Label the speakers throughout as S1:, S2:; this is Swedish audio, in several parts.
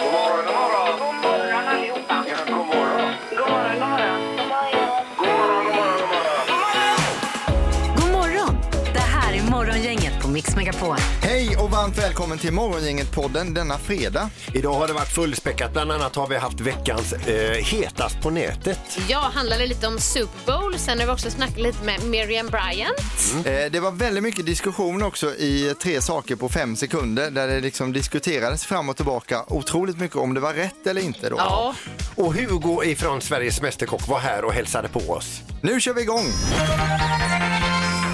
S1: God morgon, god morgon.
S2: God morgon allihopa.
S1: Ja, god morgon.
S2: God morgon, god morgon.
S1: God morgon, god morgon, god morgon.
S3: God morgon! Det här är Morgongänget på Mix Megapol.
S4: Hej och varmt välkommen till Morgongänget-podden denna fredag.
S5: Idag har det varit fullspäckat. Bland annat har vi haft veckans eh, hetast på nätet.
S6: Jag handlade lite om Super Bowl, sen har vi också snackat lite med Miriam Bryant.
S4: Eh, Det var väldigt mycket diskussion också i tre saker på fem sekunder där det liksom diskuterades fram och tillbaka otroligt mycket om det var rätt eller inte. Då.
S6: Ja.
S5: Och Hugo ifrån Sveriges Mästerkock var här och hälsade på oss.
S4: Nu kör vi igång!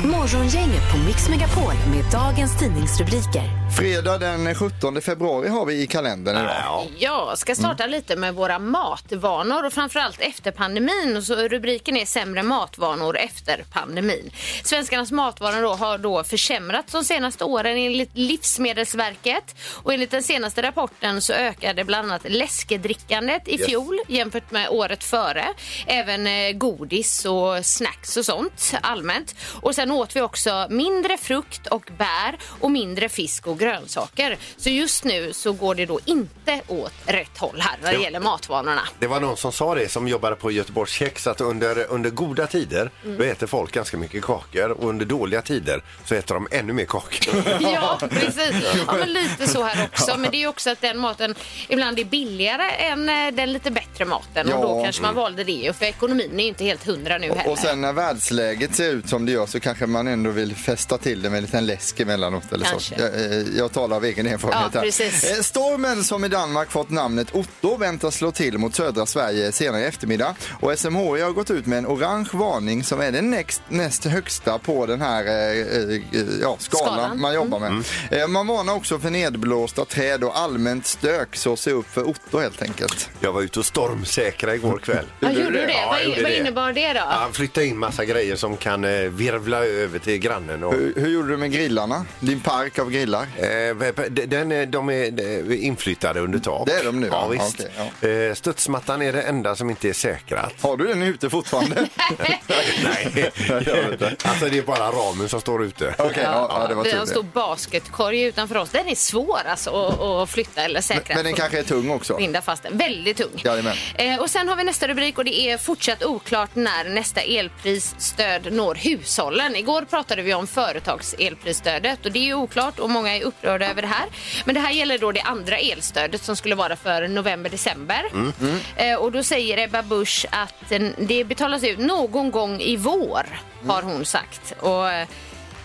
S3: Morgongänget på Mix Megapol med dagens tidningsrubriker.
S4: Fredag den 17 februari har vi i kalendern idag.
S5: Ja.
S6: Jag ska starta lite med våra matvanor och framförallt efter pandemin. Och Så rubriken är sämre matvanor efter pandemin. Svenskarnas matvanor då har då försämrats de senaste åren enligt Livsmedelsverket. Och enligt den senaste rapporten så ökade bland annat läskedrickandet i fjol jämfört med året före. Även eh, godis och snacks och sånt allmänt. Och sen åt vi också mindre frukt och bär och mindre fisk och grönsaker. Så just nu så går det då inte åt rätt håll här när det gäller matvanorna.
S5: Det var någon som sa det som jobbade på Göteborgs kex att under, under goda tider
S6: Mm.
S5: då äter folk ganska mycket kakor och under dåliga tider så äter de ännu mer kakor.
S6: Ja, precis. Ja, men lite så här också. Men det är ju också att den maten ibland är billigare än eh, den lite bättre maten. Och
S4: Ja.
S6: då kanske man valde det. Och för ekonomin är ju inte helt hundra nu heller.
S4: Och sen när världsläget ser ut som det gör så kanske man ändå vill fästa till det med en liten läsk emellanåt eller så.
S6: Kanske.
S4: Jag, eh, jag talar av egen erfarenhet
S6: Ja,
S4: här.
S6: precis.
S4: Eh, Stormen som i Danmark fått namnet Otto väntas slå till mot södra Sverige senare i eftermiddag. Och SMHI har gått ut med en orange varning som är den näst, näst högsta på den här eh, eh, ja, skalan,
S6: Skalan. Mm.
S4: man jobbar med. Eh, Man varnar också för nedblåsta träd och allmänt stök så se upp för Otto helt enkelt.
S5: Jag var ute och stormsäkra igår kväll.
S6: Ja, gjorde du det?
S5: Ja,
S6: vad,
S5: jag gjorde
S6: vad
S5: det.
S6: innebar det då?
S5: Ja, Han flyttade in massa grejer som kan eh, virvla över till grannen. Och...
S4: Hur, hur gjorde du med grillarna? Din park av grillar?
S5: Eh, Den är, de är eh, inflyttade under tak.
S4: Det är de nu,
S5: Ja,
S4: va?
S5: visst.
S4: Okej,
S5: Eh, Studsmattan är det enda som inte är säkrat.
S4: Har du den ute fortfarande?
S5: Nej, alltså det är bara ramen som står ute.
S4: Okej, ja, ja, det var
S6: Vi har en
S4: tur
S6: stor
S4: det.
S6: basketkorg utanför oss. Den är svår alltså att, att flytta eller säkra.
S4: Men den kanske är tung också.
S6: binda fast den. Väldigt tung.
S4: Jajamän.
S6: Eh, och sen har vi nästa rubrik och det är fortsatt oklart när nästa elprisstöd når hushållen. Igår pratade vi om företagselprisstödet och det är ju oklart och många är upprörda över det här. Men det här gäller då det andra elstödet som skulle vara för november-december. Eh, och då säger Ebba Busch att eh, det betalas ut någon gång i vår, har hon sagt. Och, eh,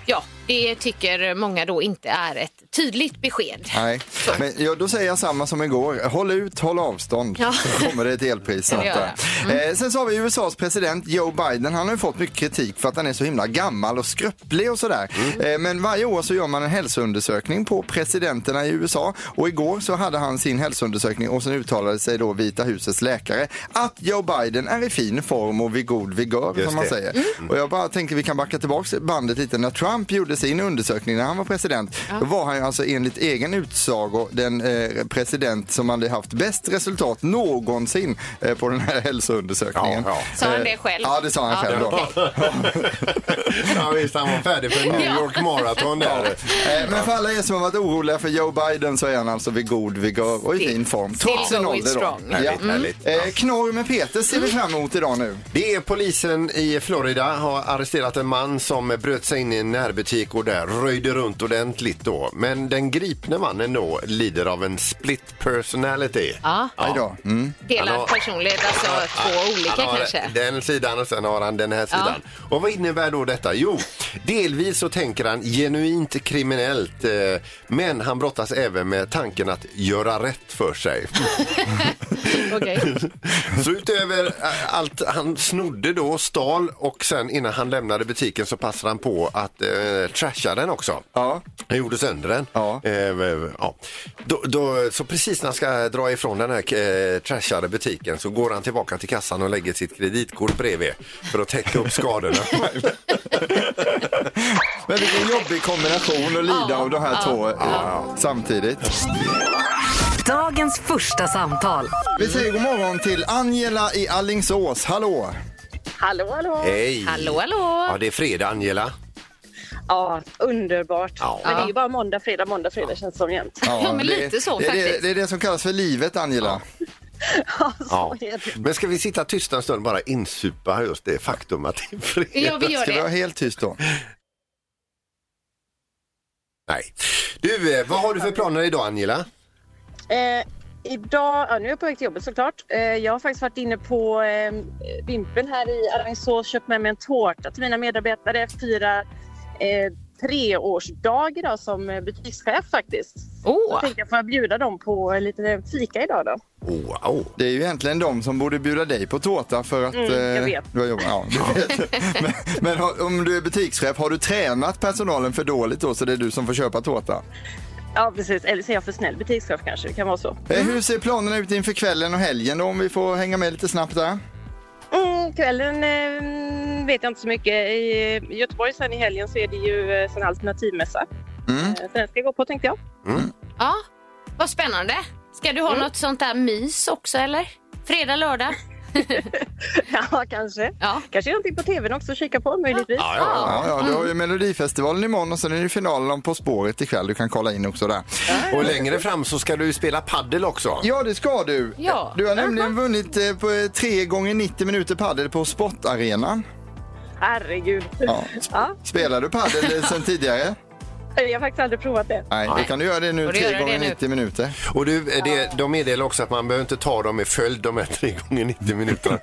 S6: ja, det tycker många då inte är ett tydligt besked.
S4: Nej, men ja, då säger jag samma som igår. Håll ut, håll avstånd.
S6: Ja.
S4: Så kommer det ett elpris.
S6: Kan vi
S4: antar jag.
S6: Mm.
S4: Eh, sen så har vi USAs president Joe Biden. Han har ju fått mycket kritik för att han är så himla gammal och skröplig och sådär.
S6: Mm.
S4: Eh, men varje år så gör man en hälsoundersökning på presidenterna i USA. Och igår så hade han sin hälsoundersökning och sen uttalade sig då Vita husets läkare att Joe Biden är i fin form och vid god vigör
S5: Just
S4: som man
S5: det.
S4: säger.
S6: Mm.
S4: Och jag bara tänker vi kan backa tillbaka bandet lite. När Trump gjorde sin undersökning när han var president, då var han ju alltså enligt egen utsago den eh, president som hade haft bäst resultat någonsin eh, på den här hälsoundersökningen.
S5: Ja,
S6: Sa han det själv?
S4: Eh, Ja, det sa han själv då.
S5: ja, visst, han var färdig för New York Marathon där.
S4: Eh, Men för alla er som har varit oroliga för Joe Biden så är han alltså vid god vigör och i fin form. Trots
S6: Still
S4: sin
S6: going
S4: ålder då.
S6: strong.
S4: Ja.
S5: Härligt, härligt.
S4: Eh, Knorr med Peter ser vi fram emot idag nu.
S5: Det är polisen i Florida har arresterat en man som bröt sig in i en närbutik och där röjde runt ordentligt då. Men den gripne mannen då lider av en split personality.
S6: Ja.
S4: Aj då. Mm.
S6: Delad
S5: Han har-
S6: personlighet, alltså två olika
S5: han har
S6: kanske.
S5: Den sidan och sen har han den här sidan. Och vad innebär då detta? Jo, delvis så tänker han genuint kriminellt eh, men han brottas även med tanken att göra rätt för sig.
S6: Okej.
S5: Så utöver eh, allt han snodde då, stal och sen innan han lämnade butiken så passade han på att eh, trasha den också.
S4: Ja.
S5: Han gjorde sönder den.
S4: Ja.
S5: Eh, eh, ja. Då, då, så precis när han ska dra ifrån den här eh, trashade butiken så går han tillbaka till kassan och lägger sitt kreditkort bredvid för att täcka upp skadorna.
S4: Men vilken jobbig kombination att lida av de här två eh, samtidigt.
S3: Dagens första samtal.
S4: Vi säger god morgon till Angela i Allingsås. Hallå!
S7: Hallå, hallå!
S5: Hej!
S6: Hallå, hallå!
S5: Ja, det är fredag, Angela.
S7: Ja, underbart.
S5: Ja.
S7: Men det är ju bara måndag, fredag, måndag, fredag känns det som jämt.
S6: Ja, men lite så
S4: det, Det,
S6: faktiskt.
S4: det är det som kallas för livet, Angela.
S7: Ja, så
S5: Ja.
S7: är det.
S5: Men ska vi sitta tysta en stund och bara insupa just det faktum att det är fredag?
S6: Ja, vi gör
S4: Ska vi vara
S6: det.
S4: helt tyst då?
S5: Nej. Du, eh, vad har du för planer idag Angela?
S7: Eh, idag, ja, nu är jag på väg till jobbet såklart. Eh, jag har faktiskt varit inne på eh, Vimpen här i Alingsås köpt med mig en tårta till mina medarbetare. Fyra eh, treårsdag idag som eh, butikschef faktiskt.
S6: Åh,
S7: Jag tänker får jag bjuda dem på eh, lite fika idag då.
S5: Wow.
S4: Det är ju egentligen de som borde bjuda dig på tårta för att eh,
S7: Mm, jag vet.
S4: du har jobbat. Ja, du vet. men, men har- om du är butikschef, har du tränat personalen för dåligt då så det är du som får köpa tårta?
S7: Ja precis, eller så är jag för snäll butikschef kanske, det kan vara så.
S4: Eh,
S6: Mm.
S4: Hur ser planerna ut inför kvällen och helgen då om vi får hänga med lite snabbt där?
S7: Mm, kvällen eh, vet jag inte så mycket. I eh, Göteborg sen i helgen så är det ju eh, sån alternativmässa.
S4: Mm.
S7: Eh, så den ska jag gå på tänkte jag.
S6: ja. Vad spännande. Ska du ha något sånt där mys också eller? Fredag, lördag?
S7: ja, kanske.
S6: Ja.
S7: Kanske någonting på tvn också att kika på möjligtvis.
S5: Ja, ja.
S4: Ja, ja,
S6: mm.
S4: du har ju Melodifestivalen imorgon och sen är det finalen om På spåret ikväll. Du kan kolla in också där.
S5: Och längre fram så ska du ju spela paddel också.
S4: Ja, det ska du.
S6: Ja.
S4: Du har nämligen vunnit eh, på eh, tre gånger 90 minuter padel på sportarenan.
S7: Herregud.
S4: Ja. Sp-
S7: Ja.
S4: Spelar du padel eh, sen tidigare?
S7: Jag har faktiskt aldrig provat det.
S4: Nej, då kan du göra det nu
S6: Får du
S4: tre
S6: göra det
S4: gånger
S6: nu?
S4: 90 minuter.
S5: Och du, eh, det, de meddelar också att man behöver inte ta dem i följd de här tre gånger 90 minuterna.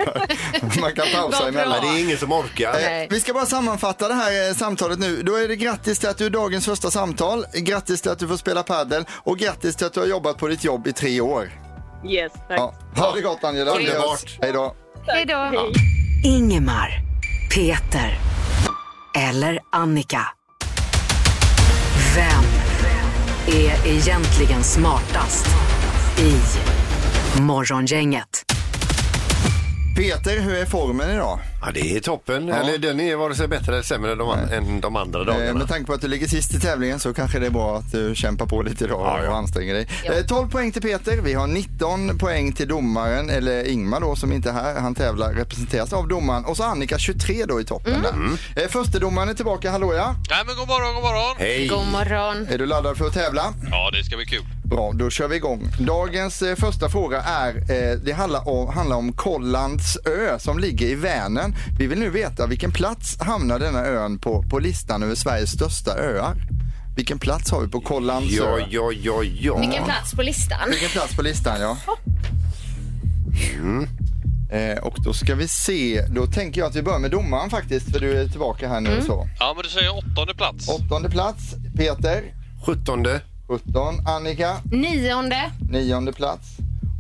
S4: Man kan pausa
S6: Vad bra.
S5: Nej,
S4: emellan.
S5: det är ingen som orkar.
S6: Nej.
S4: Vi ska bara sammanfatta det här eh, samtalet nu. Då är det grattis till att du är dagens första samtal, grattis till att du får spela padel och grattis till att du har jobbat på ditt jobb i tre år.
S7: Yes, tack.
S4: Ja. Ha det gott Angela.
S5: Underbart.
S4: Hej då.
S6: Hej då.
S3: Ingemar, Peter eller Annika. Vem är egentligen smartast i Morgongänget?
S4: Peter, hur är formen idag?
S5: Ja, det är toppen. Eller den är vare sig bättre eller sämre än de, an- än de andra
S4: Eh,
S5: dagarna.
S4: Med tanke på att du ligger sist i tävlingen så kanske det är bra att du kämpar på lite idag
S5: Ja, ja.
S4: och anstränger dig. Eh, 12 poäng till Peter, vi har 19 poäng till domaren, eller Ingmar då som inte är här, han tävlar, representeras av domaren. Och så Annika 23 då i toppen
S5: Mm.
S4: där. Eh, Förste domaren är tillbaka, hallå ja.
S8: Nej men god morgon, god morgon!
S5: Hej!
S6: God morgon.
S4: Är du laddad för att tävla?
S8: Ja, det ska bli kul.
S4: Bra, då kör vi igång. Dagens eh, första fråga är, eh, det handlar om, handlar om Kollands ö som ligger i Vänern. Vi vill nu veta vilken plats hamnar denna ön på, på listan över Sveriges största öar? Vilken plats har vi på Kollands
S5: Ja,
S4: ö?
S5: ja, ja, ja.
S6: Vilken plats på listan?
S4: Vilken plats på listan, ja.
S5: Mm.
S4: Eh, och då ska vi se, då tänker jag att vi börjar med domaren faktiskt, för du är tillbaka här nu. Så.
S8: Ja, men du säger åttonde plats.
S4: Åttonde plats, Peter.
S5: 17.
S4: 17, Annika.
S6: Nionde.
S4: Nionde plats.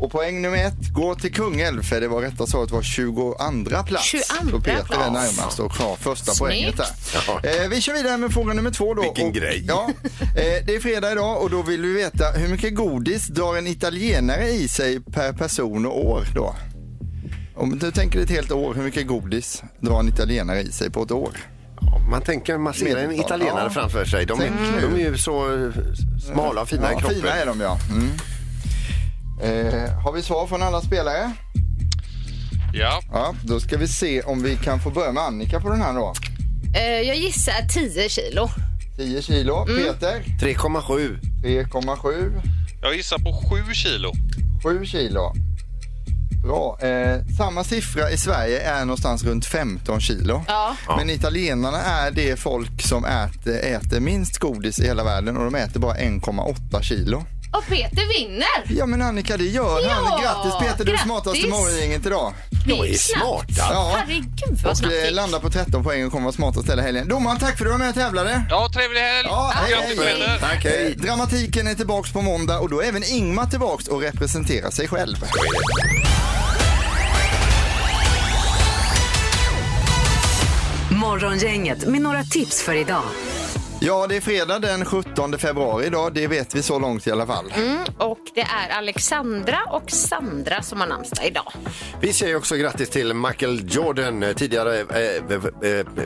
S4: Och poäng nummer ett går till Kungälv för det var rätta svaret var 22 plats.
S6: 22:a
S4: Så Peter är
S6: plats.
S4: närmast och har första poänget där.
S5: Ja.
S4: Eh, vi kör vidare med fråga nummer två då.
S5: Vilken
S4: och,
S5: grej.
S4: Ja, eh, det är fredag idag och då vill vi veta hur mycket godis drar en italienare i sig per person och år då? Om du tänker ett helt år, hur mycket godis drar en italienare i sig på ett år?
S5: Ja, Man tänker man ser en
S4: Medeltal,
S5: italienare
S4: ja.
S5: framför sig. De är,
S4: Tänk nu.
S5: de är ju så eh, smala och fina i kroppen.
S4: fina är de ja. Mm. Eh, har vi svar från alla spelare?
S8: Ja.
S4: Ja, då ska vi se om vi kan få börja med Annika på den här då.
S6: Eh, jag gissar 10 kilo.
S4: 10 kilo.
S6: Mm.
S4: Peter
S5: 3,7.
S4: 3,7.
S8: Jag gissar på sju kilo.
S4: 7 kilo. Bra. Eh, samma siffra i Sverige är någonstans runt 15 kilo.
S6: Ja.
S4: Men italienarna är det folk som äter, äter minst godis i hela världen och de äter bara 1,8 kilo.
S6: Och Peter vinner!
S4: Ja men Annika det gör han.
S6: Ja,
S4: Grattis Peter, du är smartaste
S6: grattis.
S4: morgongänget idag.
S5: De är smarta.
S4: Ja.
S6: Herregud vad
S4: Och
S6: snabbt
S4: eh,
S6: det gick.
S4: landar på 13 poäng och kommer vara smartast hela helgen. Domaren tack för att du var med och tävlade.
S8: Ja, trevlig helg!
S4: Ja, hej,
S8: Grattis,
S4: hej.
S8: vänner.
S5: Tack,
S4: Eh,
S5: hej.
S4: Dramatiken är tillbaks på måndag och då är även Ingmar tillbaks och representerar sig själv.
S3: Morgongänget med några tips för idag.
S4: Ja, det är fredag den 17 februari idag. Det vet vi så långt i alla fall.
S6: Mm, och det är Alexandra och Sandra som har namnsdag idag.
S5: Vi säger också grattis till Michael Jordan, eh, tidigare eh, eh,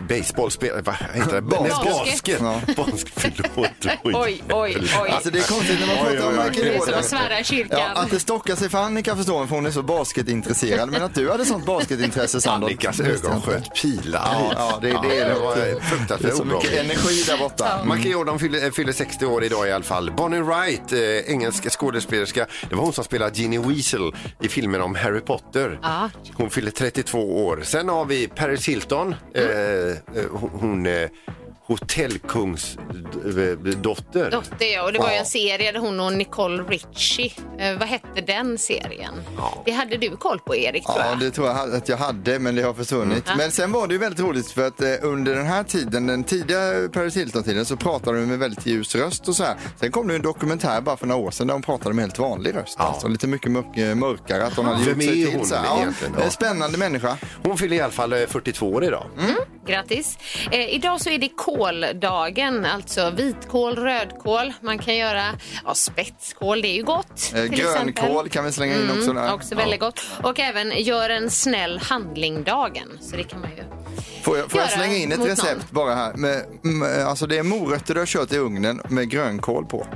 S5: baseballspelare, vad heter det?
S4: Basket.
S5: Nej, Basket.
S4: Ja.
S5: Basket, förlåt.
S6: Oj, oj, oj.
S4: Alltså det är konstigt när man
S5: Oj,
S4: pratar
S5: oj,
S4: om
S5: oj.
S4: Michael
S6: Det är som
S4: Jordan.
S6: att svära i kyrkan.
S4: Ja, att det stockar sig för Annika förstår man för hon är så basketintresserad. Men att du hade sånt basketintresse Sandra.
S5: Annikas ögon sköt pilar.
S4: Ja, ja, det- det är det.
S5: var
S4: Det är
S5: fruktansvärt
S4: så mycket
S5: obehagligt.
S4: energi där borta.
S5: Michael Jordan fyller, eh, fyller 60 år idag i alla fall. Bonnie Wright, eh, engelsk skådespelerska. Det var hon som spelade Ginny Weasel i filmen om Harry Potter.
S6: Ja.
S5: Hon fyller 32 år. Sen har vi Paris Hilton. Eh, eh, hon- hon eh, hotellkungsdotter.
S6: Dotter, ja. Och det var ju
S5: Ja.
S6: en serie där hon och Nicole Richie. Eh, vad hette den serien? Det hade du koll på, Erik, tror
S4: Ja,
S6: jag.
S4: det tror jag att jag hade, men det har försvunnit.
S6: Mm.
S4: Men sen var det ju väldigt roligt för att eh, under den här tiden, den tidiga Paris Hilton-tiden, så pratade hon med väldigt ljus röst och så här. Sen kom det ju en dokumentär bara för några år sedan där hon pratade med helt vanlig röst.
S5: Ja.
S4: Alltså lite mycket mörk- mörkare, att hon hade
S5: Vem
S4: gjort sig
S5: är
S4: till
S5: hon
S4: så här.
S5: egentligen,
S4: Ja,
S5: ja.
S4: en spännande människa.
S5: Hon fyller i alla fall eh, 42 år idag.
S6: Grattis! Eh, idag så är det kåldagen, alltså vitkål, rödkål. Man kan göra ja, spetskål, det är ju gott.
S4: Eh,
S6: till exempel.
S4: grönkål kan vi slänga in också
S6: Mm,
S4: där.
S6: också väldigt gott. Och även gör en snäll handling-dagen. Så det kan man ju.
S4: Får jag, får jag
S6: Göra
S4: slänga in ett
S6: mot
S4: recept
S6: någon.
S4: bara här? Med, med, alltså det är morötter du har kört i ugnen med grönkål på.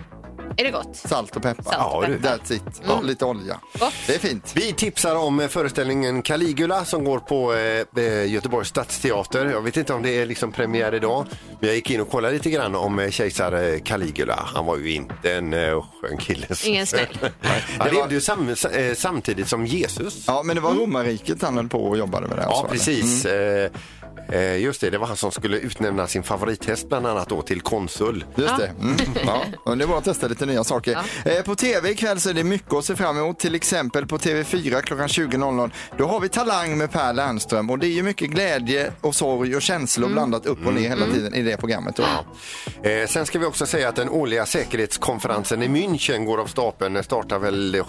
S6: Är det gott?
S4: Salt och peppar.
S6: Salt och
S4: Ja,
S6: peppar.
S4: That's it. Och lite olja.
S6: Gott.
S4: Det är fint.
S5: Vi tipsar om eh, föreställningen Caligula som går på eh, eh, Göteborgs stadsteater. Jag vet inte om det är liksom premiär idag. Men jag gick in och kollade lite grann om eh, kejsare Caligula. Han var ju inte en eh, skön kille.
S6: Ingen snäll.
S5: Han
S4: Det var-
S5: levde ju sam, eh, samtidigt som Jesus.
S4: Ja, men det var romarriket han höll på och jobbade med det. Mm.
S5: Ja, precis. Eh, eh, Just det, det var han som skulle utnämna sin favorithäst bland annat då till konsul.
S4: Just det. Mm. Ja, underbart att testa lite nya saker. Eh, på tv ikväll så är det mycket att se fram emot. Till exempel på TV4 klockan 20.00. Då har vi Talang med Per Lernström. Och det är ju mycket glädje och sorg och känslor blandat upp och ner hela tiden i det programmet. Då.
S5: Eh, sen ska vi också säga att den årliga säkerhetskonferensen i München går av stapeln. Den startar väl,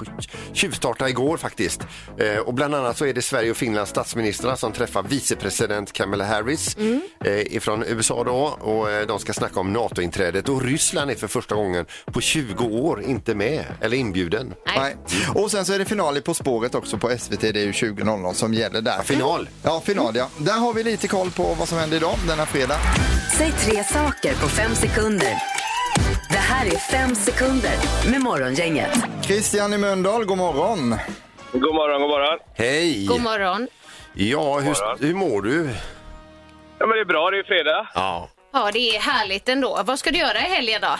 S5: tjuvstartade igår faktiskt. Eh, och bland annat så är det Sverige och Finlands statsministrar som träffar vicepresident Kamala Harris
S6: Mm.
S5: eh, ifrån USA då. Och eh, de ska snacka om NATO-inträdet och Ryssland är för första gången på 20 år inte med eller inbjuden.
S4: Nej. Och sen så är det final i På spåret också på SVT. Det är ju 20.00 som gäller där.
S5: Final!
S4: Ja, final ja. Där har vi lite koll på vad som händer idag denna fredag.
S3: Säg tre saker på fem sekunder. Det här är fem sekunder med Morgongänget.
S4: Christian i Mölndal, god morgon.
S9: God morgon, god morgon.
S5: Hej!
S6: God morgon.
S5: Ja, hur, hur mår du?
S9: Ja, men det är bra, det är fredag.
S5: Ja.
S6: Ja, det är härligt ändå. Vad ska du göra i helgen då?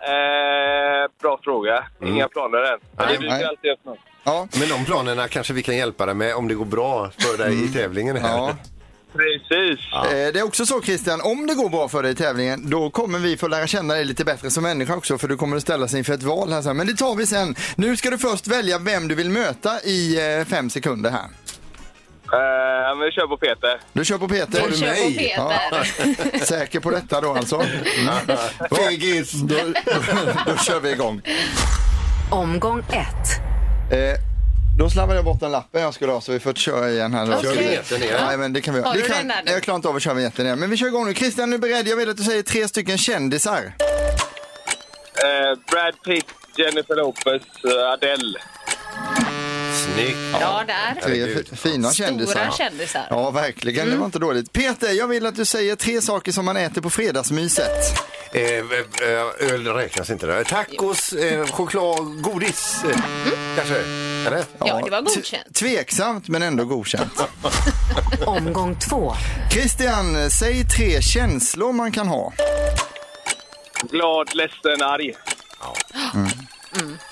S9: Eh, bra fråga. Inga planer än. Men
S5: Nej,
S9: det dyker
S4: nej.
S9: alltid upp något.
S4: Ja.
S5: Men de planerna kanske vi kan hjälpa dig med om det går bra för dig i tävlingen här.
S4: Ja.
S9: Precis.
S4: Eh, Det är också så Christian, om det går bra för dig i tävlingen då kommer vi få lära känna dig lite bättre som människa också för du kommer att ställas inför ett val här sen. Men det tar vi sen. Nu ska du först välja vem du vill möta i eh, fem sekunder här.
S9: Eh, men vi kör på Peter.
S4: Du kör på Peter.
S6: Du kör på
S5: mig?
S6: Peter.
S4: Säker på detta då alltså? Mm.
S5: Fegis!
S4: Då, då kör vi igång.
S3: Omgång ett.
S4: Eh, då slarvade jag bort den lappen jag skulle ha så vi får köra igen här nu.
S5: Kör
S6: Okej.
S5: vinjetten igen.
S4: Nej, men det kan vi göra.
S6: Har
S4: Det
S6: du
S4: kan,
S6: den där nu?
S4: jag klarar inte av att köra vinjetten igen. Men vi kör igång nu. Christian, är du beredd? Jag vill att du säger tre stycken kändisar.
S9: Eh, Brad Pitt, Jennifer Lopez, eh, Adele.
S5: Snyggt!
S6: Ja, där.
S4: Tre
S5: Herregud.
S4: f- fina kändisar.
S6: Stora kändisar. Mm.
S4: Ja, verkligen. Det var inte dåligt. Peter, jag vill att du säger tre saker som man äter på fredagsmyset.
S5: Eh, eh, öl räknas inte där. Tacos, eh, choklad, godis eh, kanske? Eller?
S6: Ja, det var
S4: T-
S6: godkänt.
S4: Tveksamt, men ändå godkänt.
S3: Omgång två.
S4: Christian, säg tre känslor man kan ha.
S9: Glad, ledsen, arg.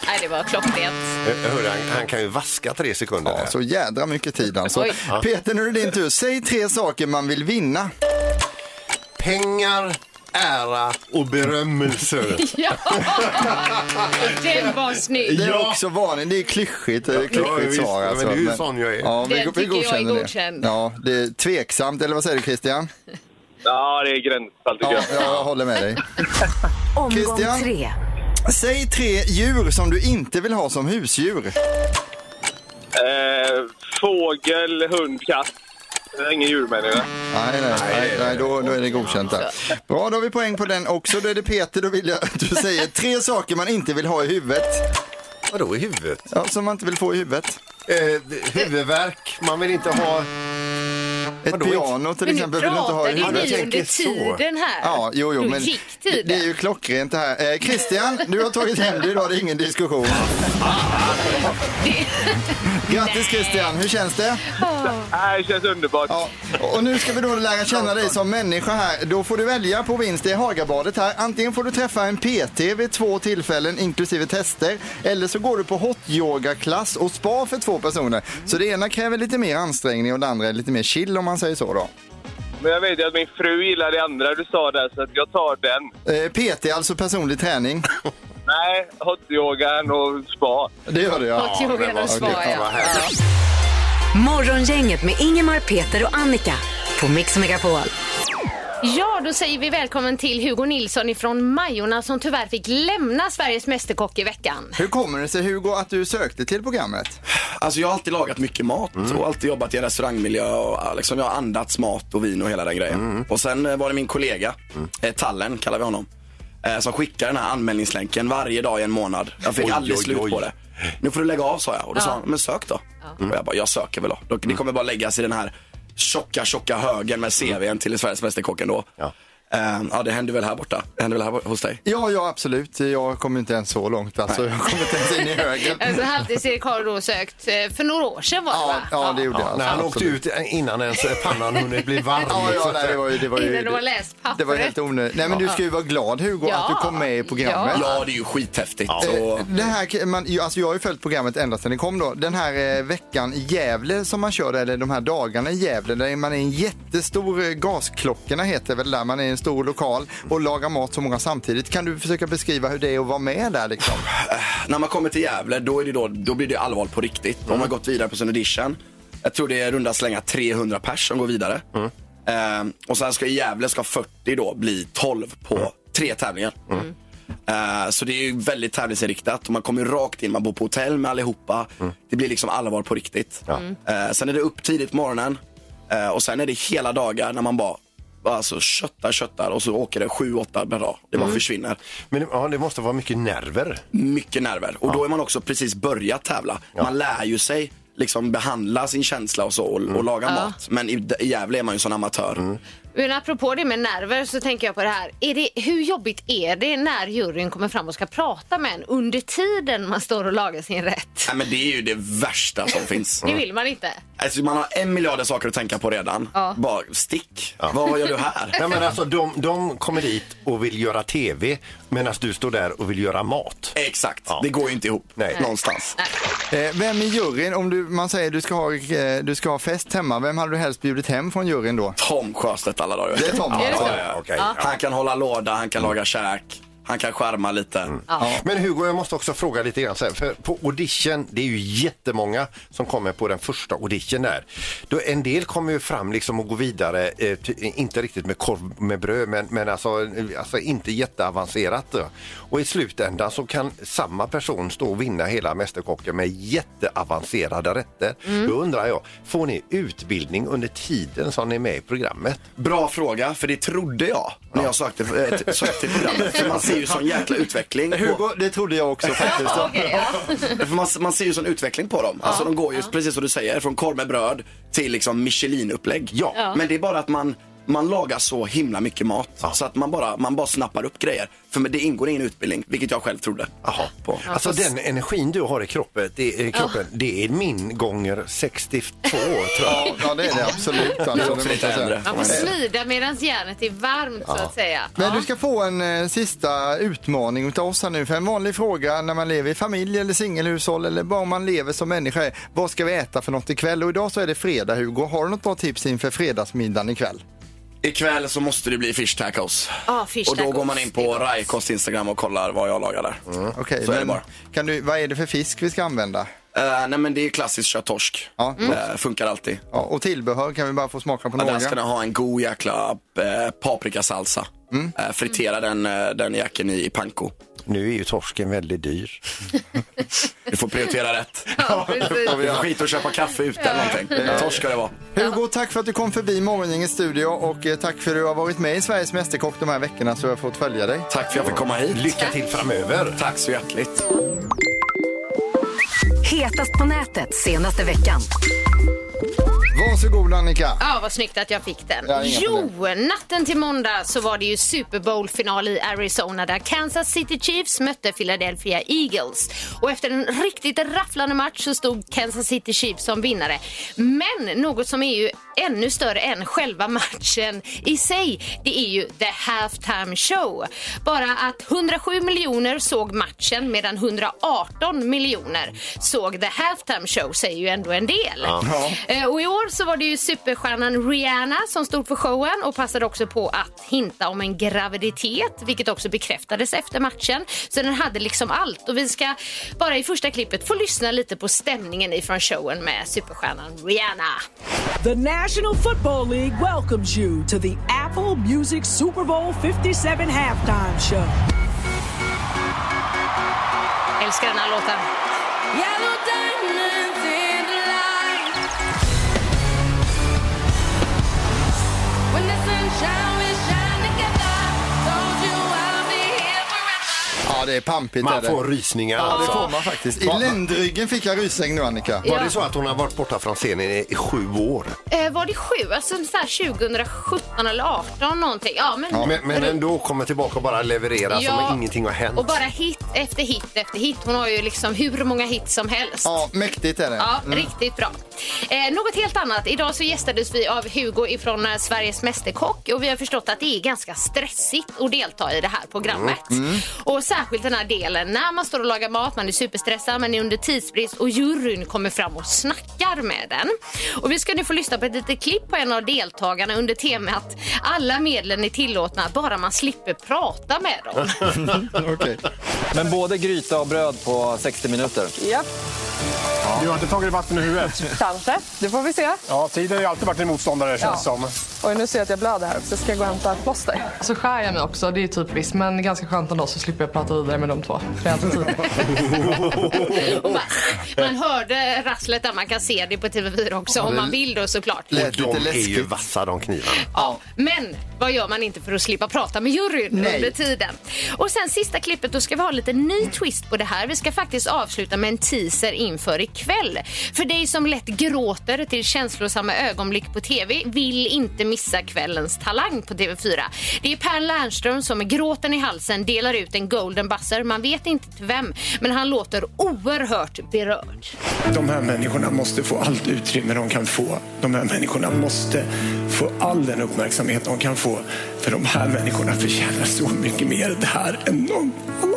S6: Nej, det var klockrent.
S5: Eh, hörru, han, han kan ju vaska tre sekunder.
S4: Ja,
S5: där.
S4: så jädra mycket tid alltså.
S6: Oj.
S4: Peter, nu är det din tur. Säg tre saker man vill vinna.
S5: Pengar, ära och berömmelse.
S6: Ja! Den var snygg.
S4: Det är
S5: Ja.
S4: också vanligt. Det är klyschigt, eh,
S5: Ja, visst.
S4: klyschigt svar.
S5: Men
S4: Alltså.
S5: det är ju sån jag är.
S4: Ja, vi,
S6: Den
S4: vi
S6: tycker jag är
S4: godkänner det.
S6: godkänd.
S4: Ja, det är tveksamt, eller vad säger du Christian?
S9: Ja, det är gränsfall tycker
S4: Ja,
S9: jag.
S4: jag håller med dig.
S3: Omgång
S4: Christian?
S3: tre.
S4: Säg tre djur som du inte vill ha som husdjur.
S9: Eh, fågel, hund, katt. Jag är ingen djurmänniska.
S4: Nej, nej, nej, nej då, då är det godkänt där. Bra, då har vi poäng på den också. Då är det Peter, då vill jag att du säger tre saker man inte vill ha i huvudet.
S5: Vadå i huvudet?
S4: Ja, som man inte vill få i huvudet.
S5: Eh, huvudvärk, man vill inte ha...
S4: Ett
S5: Vadå,
S4: piano till
S6: Men nu
S4: exempel vill du inte ha
S6: pratar
S4: i
S6: ni
S4: huvudet.
S6: ju under
S5: tänker så.
S6: tiden här.
S4: Ja, jo, jo,
S6: Nu
S4: men
S6: gick
S4: det,
S6: tiden.
S4: det är ju klockrent det här. Eh, Christian, du har tagit hem det idag, det är ingen diskussion. Grattis Christian, hur känns det?
S9: Nej, det känns underbart.
S4: Ja. Och nu ska vi då lära känna dig som människa här. Då får du välja på vinst i Hagabadet här. Antingen får du träffa en PT vid två tillfällen inklusive tester. Eller så går du på hot-yoga-klass och spa för två personer. Så det ena kräver lite mer ansträngning och det andra är lite mer chill om man säger så då.
S9: Men jag vet ju att min fru gillar det andra du sa där, så att jag tar den.
S4: Eh, PT, alltså personlig träning.
S9: Nej, hotyogan och spa.
S4: Det gör du ja.
S6: Hot yoga
S5: men vad-
S6: och spa,
S5: okej,
S6: ja.
S5: vad härligt.
S3: Morgongänget med Ingemar, Peter och Annika på Mix Megapol.
S6: Ja, då säger vi välkommen till Hugo Nilsson ifrån Majorna som tyvärr fick lämna Sveriges Mästerkock i veckan.
S4: Hur kommer det sig Hugo att du sökte till programmet?
S10: Alltså jag har alltid lagat mycket mat
S5: Mm.
S10: och alltid jobbat i restaurangmiljö och ah, liksom jag har andats mat och vin och hela den grejen.
S5: Mm.
S10: Och sen eh, var det min kollega, eh, Tallen kallar vi honom, eh, som skickade den här anmälningslänken varje dag i en månad. Jag fick
S5: Oj,
S10: aldrig
S5: oj,
S10: slut
S5: oj.
S10: på det. Nu får du lägga av sa jag och då sa
S6: Ja.
S10: han, men sök då. Och jag bara, jag söker väl då. då
S5: Mm.
S10: det kommer bara läggas i den här tjocka, tjocka högen med CVn till Sveriges Mästerkock ändå.
S5: Ja.
S10: Eh, ja, det händer väl här borta. Det händer väl här borta, hos dig.
S4: Ja, ja absolut. Jag kom ju inte ens så långt alltså. Jag kom inte ens in i högen.
S6: Alltså, Halvtids-Erik har då sökt eh, för några år sedan var det
S4: Ja,
S6: va?
S4: ja det gjorde jag.
S5: När han
S4: alltså,
S5: åkte
S4: absolut.
S5: ut innan ens pannan hunnit bli varm.
S4: Ja,
S5: Så
S4: ja,
S5: att-
S4: nej, det var ju... Det var ju
S6: Innan du har läst pappret.
S4: Det var helt onödigt. Nej men du ska ju vara glad Hugo
S6: Ja.
S4: att du kom med i programmet.
S10: Ja, det är ju skithäftigt. Och...
S4: Eh, Det här, man, ju- alltså jag har ju följt programmet ända sedan det kom då. Den här eh, veckan i Gävle som man kör, eller de här dagarna i Gävle, där man är i en jättestor, eh, gasklockorna heter väl där, man är i en stor lokal och lagar mat så många samtidigt. Kan du försöka beskriva hur det är att vara med där liksom?
S10: när man kommer till Gävle då, är det då, då blir det allvar på riktigt. De har gått vidare på sin audition. Jag tror det är runda slänga 300 pers som går vidare. Ehm, och sen ska i Gävle ska 40 då bli 12 på tre tävlingar. Ehm, så det är ju väldigt tävlingsinriktat och man kommer rakt in. Man bor på hotell med allihopa. Det blir liksom allvar på riktigt. Ehm, sen är det upp tidigt på morgonen Ehm, och sen är det hela dagar när man bara Alltså köttar, köttar och så åker det 7-8 per dag. Det bara försvinner
S5: Men ja, det måste vara mycket nerver.
S10: mycket nerver. Och då är man också precis börjat tävla. Man lär ju sig liksom behandla sin känsla och så och, och laga mat. Men i, i Gävle är man ju sån amatör.
S6: Men apropå det med nerver så tänker jag på det här. Är det, hur jobbigt är det när juryn kommer fram och ska prata med en under tiden man står och lagar sin rätt?
S10: Nej, men det är ju det värsta som finns.
S4: Mm.
S6: Det vill man inte.
S10: Alltså, man har en miljard saker att tänka på redan.
S6: Ja.
S10: Bara stick. Vad gör du här?
S5: Nej, men alltså, de, de kommer dit och vill göra tv medan du står där och vill göra mat.
S10: Exakt,
S5: Ja.
S10: det går ju inte ihop
S5: Nej.
S10: någonstans.
S4: Eh, vem i juryn, om du, man säger du ska, ha, eh, du ska ha fest hemma, vem hade du helst bjudit hem från juryn då?
S10: Tom Sjöstedt alla dagar.
S4: Det är Tom.
S10: Ja, ja,
S5: Ja,
S10: ja.
S5: okej.
S10: Han kan hålla låda, han kan laga käk, han kan skärma lite.
S5: Men Hugo, jag måste också fråga lite grann. Så här, för på audition, det är ju jättemånga som kommer på den första audition där. Då en del kommer ju fram liksom och går vidare, eh, ty, inte riktigt med korv med bröd, men, men alltså, eh, alltså inte jätteavancerat. Då. Och i slutändan så kan samma person stå och vinna hela Mästerkocken med jätteavancerade rätter. Då undrar jag, får ni utbildning under tiden som ni är med i programmet?
S10: Bra fråga, för det trodde jag när jag sökte, eh, t- sökte till programmet. För man ser ju sån jäkla utveckling. på-
S4: Hugo, det trodde jag också faktiskt.
S10: För man, man ser ju sån utveckling på dem. Alltså de går ju precis som du säger, från korv med bröd till liksom Michelin-upplägg.
S5: Ja. Ja.
S10: Men det är bara att man, man lagar så himla mycket mat så att man bara, man bara snappar upp grejer. För det ingår ingen utbildning, vilket jag själv trodde.
S5: Aha.
S10: På.
S5: Alltså den energin du har i kroppen, det, i kroppen, det är min gånger 62 år tror jag.
S4: Ja, det är det absolut. Alltså,
S10: Det är
S4: det
S10: också
S4: måste
S10: lite
S4: jag säga.
S10: äldre.
S6: Man får smida medan järnet är varmt så att säga.
S4: Men du ska få en eh, sista utmaning utav oss här nu. För en vanlig fråga när man lever i familj eller singelhushåll eller bara om man lever som människa är vad ska vi äta för något ikväll? Och idag så är det fredag Hugo. Har du något bra tips inför fredagsmiddagen ikväll?
S10: Ikväll så måste det bli fish tacos.
S6: Ja, fish
S10: och då
S6: tacos.
S10: går man in
S6: Det
S10: på
S6: är gott.
S10: Raikost Instagram och kollar vad jag lagar där.
S4: Mm, Okej,
S10: Så är det
S4: men
S10: bara.
S4: kan du, vad är det för fisk vi ska använda?
S10: Eh, nej men det är klassiskt kött-torsk.
S4: Ja.
S10: Eh, funkar alltid.
S4: Ja, och tillbehör kan vi bara få smaka på
S10: Ja,
S4: några.
S10: där ska den ha en god
S4: Mm.
S10: jäkla eh, paprikasalsa. Eh, fritera den, eh, den jäkeln i, i panko.
S5: Nu är ju torsken väldigt dyr.
S10: Du får prioritera rätt.
S6: Ja, precis.
S10: Det är skit att köpa kaffe ute eller någonting. Torsk ska det vara.
S4: Hugo, tack för att du kom förbi Morgongängets studio och eh, tack för att du har varit med i Sveriges Mästerkock de här veckorna så jag har fått följa dig.
S10: Tack för att jag fick komma hit.
S5: Lycka till framöver.
S10: Tack så hjärtligt.
S3: Hetast på nätet senaste veckan.
S4: Varsågod Annika.
S6: Ja, vad snyggt att jag fick den.
S4: Ja, inga
S6: jo, natten till måndag så var det ju Super Bowl-final i Arizona där Kansas City Chiefs mötte Philadelphia Eagles. Och efter en riktigt rafflande match så stod Kansas City Chiefs som vinnare. Men något som är ju ännu större än själva matchen i sig, det är ju The Halftime Show. Bara att 107 miljoner såg matchen medan 118 miljoner såg The Halftime Show säger ju ändå en del. Eh, Och i år så var det ju superstjärnan Rihanna som stod för showen och passade också på att hinta om en graviditet, vilket också bekräftades efter matchen. Så den hade liksom allt och vi ska bara i första klippet få lyssna lite på stämningen ifrån showen med superstjärnan Rihanna.
S11: The National Football League welcomes you to the Apple Music Super Bowl 57 Oh, halftime show.
S6: Älskar den här låten.
S4: Ja, det är pampigt. är
S5: Man
S4: det.
S5: får rysningar
S4: Ja, det
S5: alltså.
S4: får man faktiskt. I ländryggen fick jag rysning nu Annika.
S5: Var
S6: Ja.
S5: det så att hon har varit borta från scenen i i sju år?
S6: Eh, var det sju? Alltså så här 2017 eller 18 någonting. Ja, men,
S5: Ja, men, men ändå kommer tillbaka och bara leverera som
S6: Ja.
S5: om alltså, ingenting har hänt.
S6: Och bara hit efter hit efter hit. Hon har ju liksom hur många hits som helst.
S4: Ja, mäktigt är det. Mm.
S6: Ja, riktigt bra. Eh, något helt annat. Idag så gästades vi av Hugo ifrån eh, Sveriges Mästerkock och vi har förstått att det är ganska stressigt att delta i det här programmet. Och särskilt den här delen när man står och lagar mat, man är superstressad, man är under tidsbrist och juryn kommer fram och snackar med den. Och vi ska nu få lyssna på ett litet klipp på en av deltagarna under temat alla medlen är tillåtna bara man slipper prata med dem.
S4: Okej.
S11: Men både gryta och bröd på 60 minuter.
S7: Ja,
S12: Du har inte tagit vatten i huvudet?
S7: kanske. Det får vi se.
S12: Ja, tiden har ju alltid varit en motståndare känns som.
S7: Och nu ser jag att jag blöder här så ska jag gå och hämta ett plåster.
S11: Så skär jag mig också, det är typiskt. Men ganska skönt ändå så slipper jag prata vidare med de två. För jag har alltid tid.
S6: Och man, man hörde rasslet där, man kan se det på TV4 också om man vill då såklart.
S4: Lät
S5: de
S4: lite
S5: är ju
S4: läskigt.
S5: vassa de knivarna.
S6: Ja. Men vad gör man inte för att slippa prata med juryn
S4: Nej.
S6: under tiden? Och sen sista klippet, då ska vi ha lite ny twist på det här. Vi ska faktiskt avsluta med en teaser inför ikväll. För dig som lätt gråter till känslosamma ögonblick på TV vill inte missa kvällens talang på TV4. Det är Per Lernström som med gråten i halsen delar ut en golden buzzer. Man vet inte till vem, men han låter oerhört berörd.
S12: De här människorna måste få allt utrymme de kan få. De här människorna måste få all den uppmärksamhet de kan få. För de här människorna förtjänar så mycket mer det här än någon annan.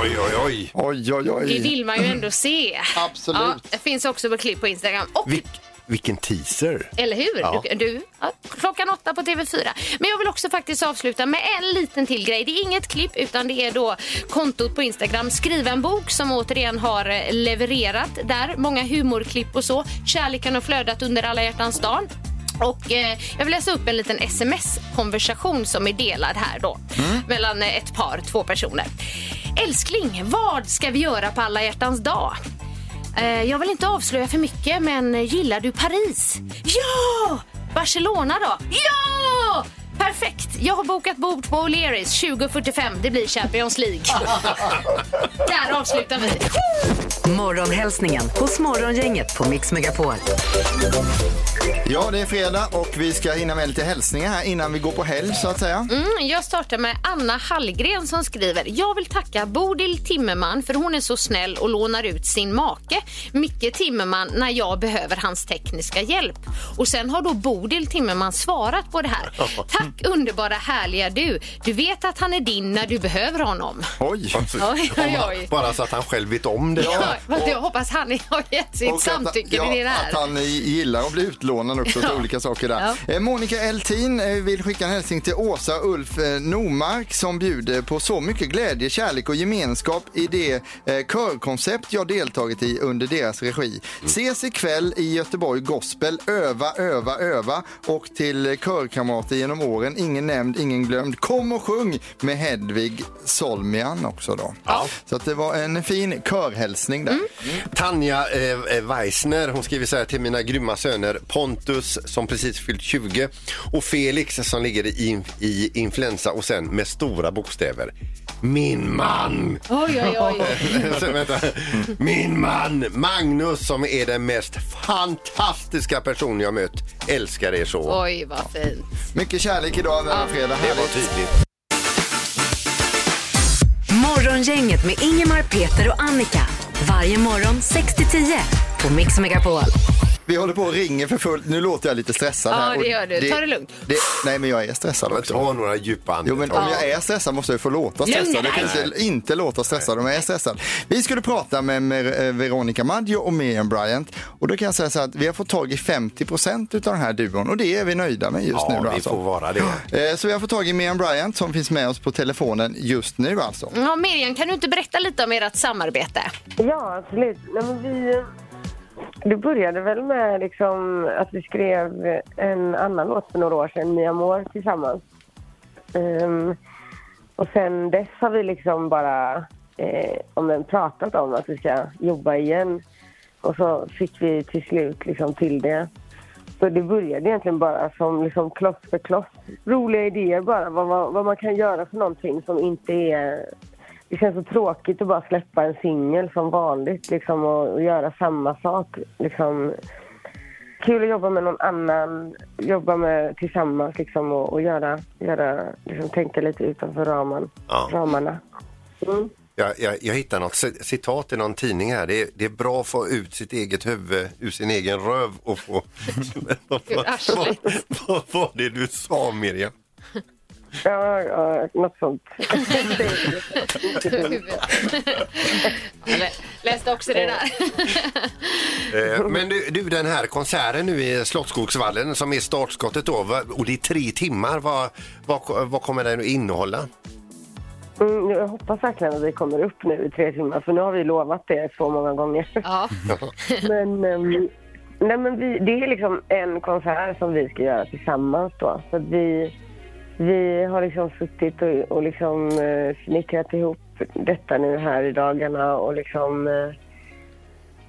S5: Oj, oj, oj.
S4: Oj, oj,
S6: Det
S4: oj.
S6: vill man ju ändå se.
S4: Absolut.
S6: Ja, det finns också på klipp på Instagram. Och
S5: Vilk, vilken teaser.
S6: Eller hur?
S5: Ja.
S6: Du, du, ja, klockan åtta på TV4. Men jag vill också faktiskt avsluta med en liten till grej. Det är inget klipp utan det är då kontot på Instagram Skriv en bok som återigen har eh, levererat där. Många humorklipp och så. Kärleken har flödat under alla hjärtans dag. Och eh, jag vill läsa upp en liten sms-konversation som är delad här då. Mellan eh, ett par, två personer. Älskling, vad ska vi göra på alla hjärtans dag? Eh, Jag vill inte avslöja för mycket, men gillar du Paris? Ja! Barcelona då? Ja! Perfekt! Jag har bokat bord på O'Learys 2045. Det blir Champions League. Där avslutar vi.
S3: Morgonhälsningen hos Morgongänget på Mix Megapol.
S4: Ja, det är fredag och vi ska hinna med lite hälsningar här innan vi går på helg så att säga.
S6: Mm, jag startar med Anna Hallgren som skriver. Jag vill tacka Bodil Timmerman för hon är så snäll och lånar ut sin make Micke Timmerman när jag behöver hans tekniska hjälp. Och sen har då Bodil Timmerman svarat på det här. Tack underbara härliga du. Du vet att han är din när du behöver honom.
S4: Oj.
S6: Oj, oj, oj.
S5: Bara så att han själv vet om det.
S6: Ja, fast jag hoppas han har gett sitt
S4: Och att-
S6: samtycke
S4: ja,
S6: till det här.
S4: Att han gillar att bli lånen också till
S13: Ja.
S4: olika saker där.
S13: Ja.
S4: Eh, Monica Eltin eh, vill skicka en hälsning till Åsa och Ulf eh, Normark som bjuder på så mycket glädje, kärlek och gemenskap i det eh, körkoncept jag deltagit i under deras regi. Ses ikväll i Göteborg Gospel, öva, öva, öva och till eh, körkamrater genom åren, ingen nämnd, ingen glömd. Kom och sjung med Hedvig Solmian också då. Så att det var en fin körhälsning där.
S6: Mm.
S5: Tanja eh, Weissner, hon skriver så här till mina grymma söner Pontus som precis fyllt 20 och Felix som ligger i, i influensa och sen med stora bokstäver. Min man!
S6: Oj, oj, oj.
S5: Så, vänta. Min man Magnus som är den mest fantastiska person jag mött. Älskar er så.
S6: Oj, vad fint.
S4: Mycket kärlek idag denna fredag.
S5: Det var tydligt.
S3: Morgongänget med Ingemar, Peter och Annika. Varje morgon 6 till 10 på Mix Megapol.
S4: Vi håller på och ringer för fullt. Nu låter jag lite stressad
S3: Ja,
S4: här. och
S3: det gör du. Ta det lugnt.
S4: nej, men jag är stressad också.
S5: Ta några djupa andetag.
S4: Jo, men om jag är stressad måste jag få låta
S5: Lugna
S4: stressad. Jag kan
S5: dig.
S4: inte, inte låta stressad om jag är stressad. Vi skulle prata med, med eh, Veronica Maggio och Miriam Bryant. Och då kan jag säga så här att vi har fått tag i 50 procent av den här duon och det är vi nöjda med just
S5: Ja,
S4: nu. Då, alltså.
S5: vi får vara
S4: det. Så vi har fått tag i Miriam Bryant som finns med oss på telefonen just nu alltså.
S6: Ja, Miriam, kan du inte berätta lite om ert samarbete?
S13: Ja, absolut. Nej, men vi, det började väl med liksom att vi skrev en annan låt för några år sedan, Mia Moore, tillsammans. Ehm, och sen dess har vi liksom bara eh, om den pratat om att vi ska jobba igen. Och så fick vi till slut liksom till det. Så det började egentligen bara som liksom kloss för kloss. Roliga idéer bara, vad, vad, vad man kan göra för någonting som inte är det känns så tråkigt att bara släppa en singel som vanligt liksom, och, och göra samma sak. Liksom. Kul att jobba med någon annan, jobba med tillsammans liksom, och, och göra, göra, liksom, tänka lite utanför ramen,
S5: Ja.
S13: ramarna. Mm.
S5: Jag, jag, jag hittade något ci- citat i någon tidning här. Det är, det är bra att få ut sitt eget huvud ur sin egen röv och få... vad, vad, vad var det du sa Miriam?
S13: Ja, ja, något sånt.
S6: Jag lä- läste också det där.
S5: Eh, Men du, du, den här konserten nu i Slottsskogsvallen som är startskottet då va- och det är tre timmar. Vad, vad, vad kommer den att innehålla?
S13: Mm, jag hoppas verkligen att vi kommer upp nu i tre timmar, för nu har vi lovat det så många gånger. men, ehm, nej, men vi, det är liksom en konsert som vi ska göra tillsammans då. Så att vi, vi har liksom suttit och, och liksom eh, snickrat ihop detta nu här i dagarna och liksom... Eh,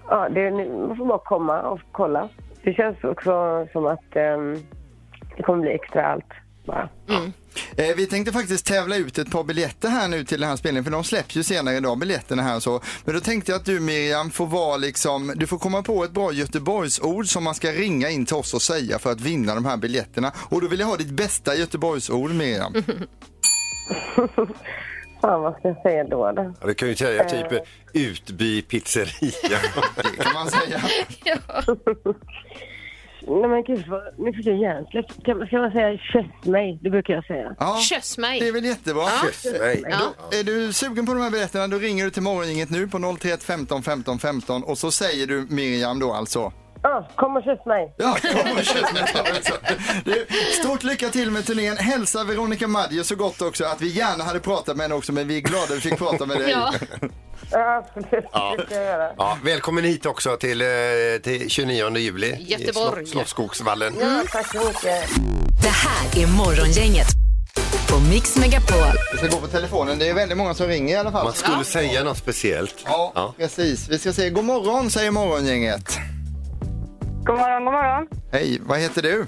S13: ja, det, man får bara komma och kolla. Det känns också som att ehm, det kommer bli extra allt bara.
S4: Eh, Vi tänkte faktiskt tävla ut ett par biljetter här nu till den här spelningen för de släpps ju senare idag biljetterna här och så. Men då tänkte jag att du Miriam får vara liksom, du får komma på ett bra Göteborgsord som man ska ringa in till oss och säga för att vinna de här biljetterna. Och då vill jag ha ditt bästa Göteborgsord Miriam.
S13: Fan, vad ska jag säga då? då?
S5: Ja, Du kan ju säga typ eh, Utby pizzeria.
S4: det kan man säga.
S13: Nej men gud, vad, nu fick jag hjärnsläpp. Kan- Ska man säga kyss mig? Det brukar jag säga.
S4: Ja,
S6: Kyss mig.
S4: Det är väl jättebra.
S6: Ja.
S5: Kyss mig.
S13: Ja.
S4: Då, är du sugen på de här biljetterna då ringer du till morgongänget nu på 031 15 15 15 och så säger du Miriam då alltså.
S13: Ja, kom och kyss mig.
S4: Ja, kom och kyss mig. alltså. Du, Stort lycka till med turnén. Hälsa Veronica Maggio så gott också att vi gärna hade pratat med henne också men vi är glada vi fick prata med dig.
S13: Ja. Ja, absolut.
S5: Ja.
S13: Det ska jag göra.
S5: Ja, välkommen hit också till, eh, till 29 juli i
S13: Göteborg.
S5: Slott- Slottsskogsvallen.
S13: Ja, tack så mycket.
S3: Det här är Morgongänget på Mix Megapol.
S4: Vi ska gå på telefonen. Det är väldigt många som ringer i alla fall.
S5: Man skulle säga något speciellt.
S4: Ja, precis. Vi ska säga god morgon säger morgongänget.
S14: God morgon, god morgon.
S4: Hej, vad heter du?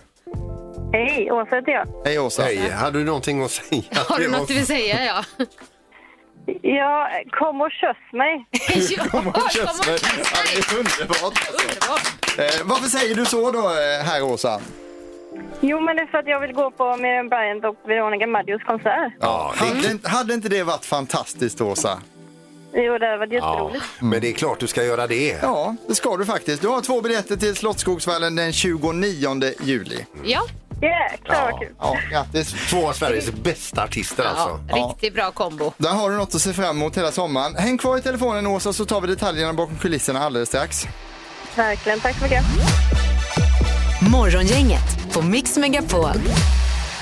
S14: Hej, Åsa heter jag.
S4: Hej Åsa.
S5: Hej, hade du någonting att säga?
S6: Har du något du vill säga? Ja.
S14: Ja, kom och kyss mig.
S4: Kom och kyss mig. Alltså. Ja, det är underbart. Eh, varför säger du så då, eh, här Åsa?
S14: Jo, men det är för att jag vill gå på Miriam Bryant och Veronica Maggios konsert.
S5: Ja,
S4: hade, inte- hade inte det varit fantastiskt Åsa?
S14: Jo, det hade varit
S5: Ja,
S14: jätteroligt.
S5: men det är klart du ska göra det.
S4: Ja, det ska du faktiskt. Du har två biljetter till Slottsskogsvallen den 29 juli.
S6: Ja.
S14: Jäklar
S5: Ja.
S14: vad kul.
S4: Ja, grattis.
S5: Två av Sveriges bästa artister alltså.
S6: Ja, riktigt bra kombo.
S4: Där har du något att se fram emot hela sommaren. Häng kvar i telefonen Åsa så tar vi detaljerna bakom kulisserna alldeles strax.
S14: Verkligen, tack så mycket.
S6: Morgongänget på Mix Megapol.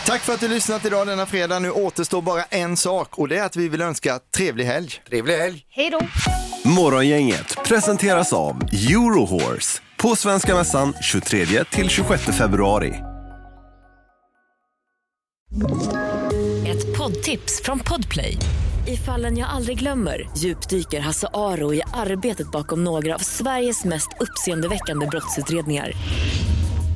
S4: Tack för att du lyssnat idag denna fredag. Nu återstår bara en sak och det är att vi vill önska trevlig helg.
S15: Trevlig helg.
S16: Hej då!
S5: Morgongänget presenteras av Eurohorse på Svenska Mässan 23-26 februari.
S3: Ett poddtips från Podplay. I fallen jag aldrig glömmer djupdyker Hasse Aro i arbetet bakom några av Sveriges mest uppseendeväckande brottsutredningar.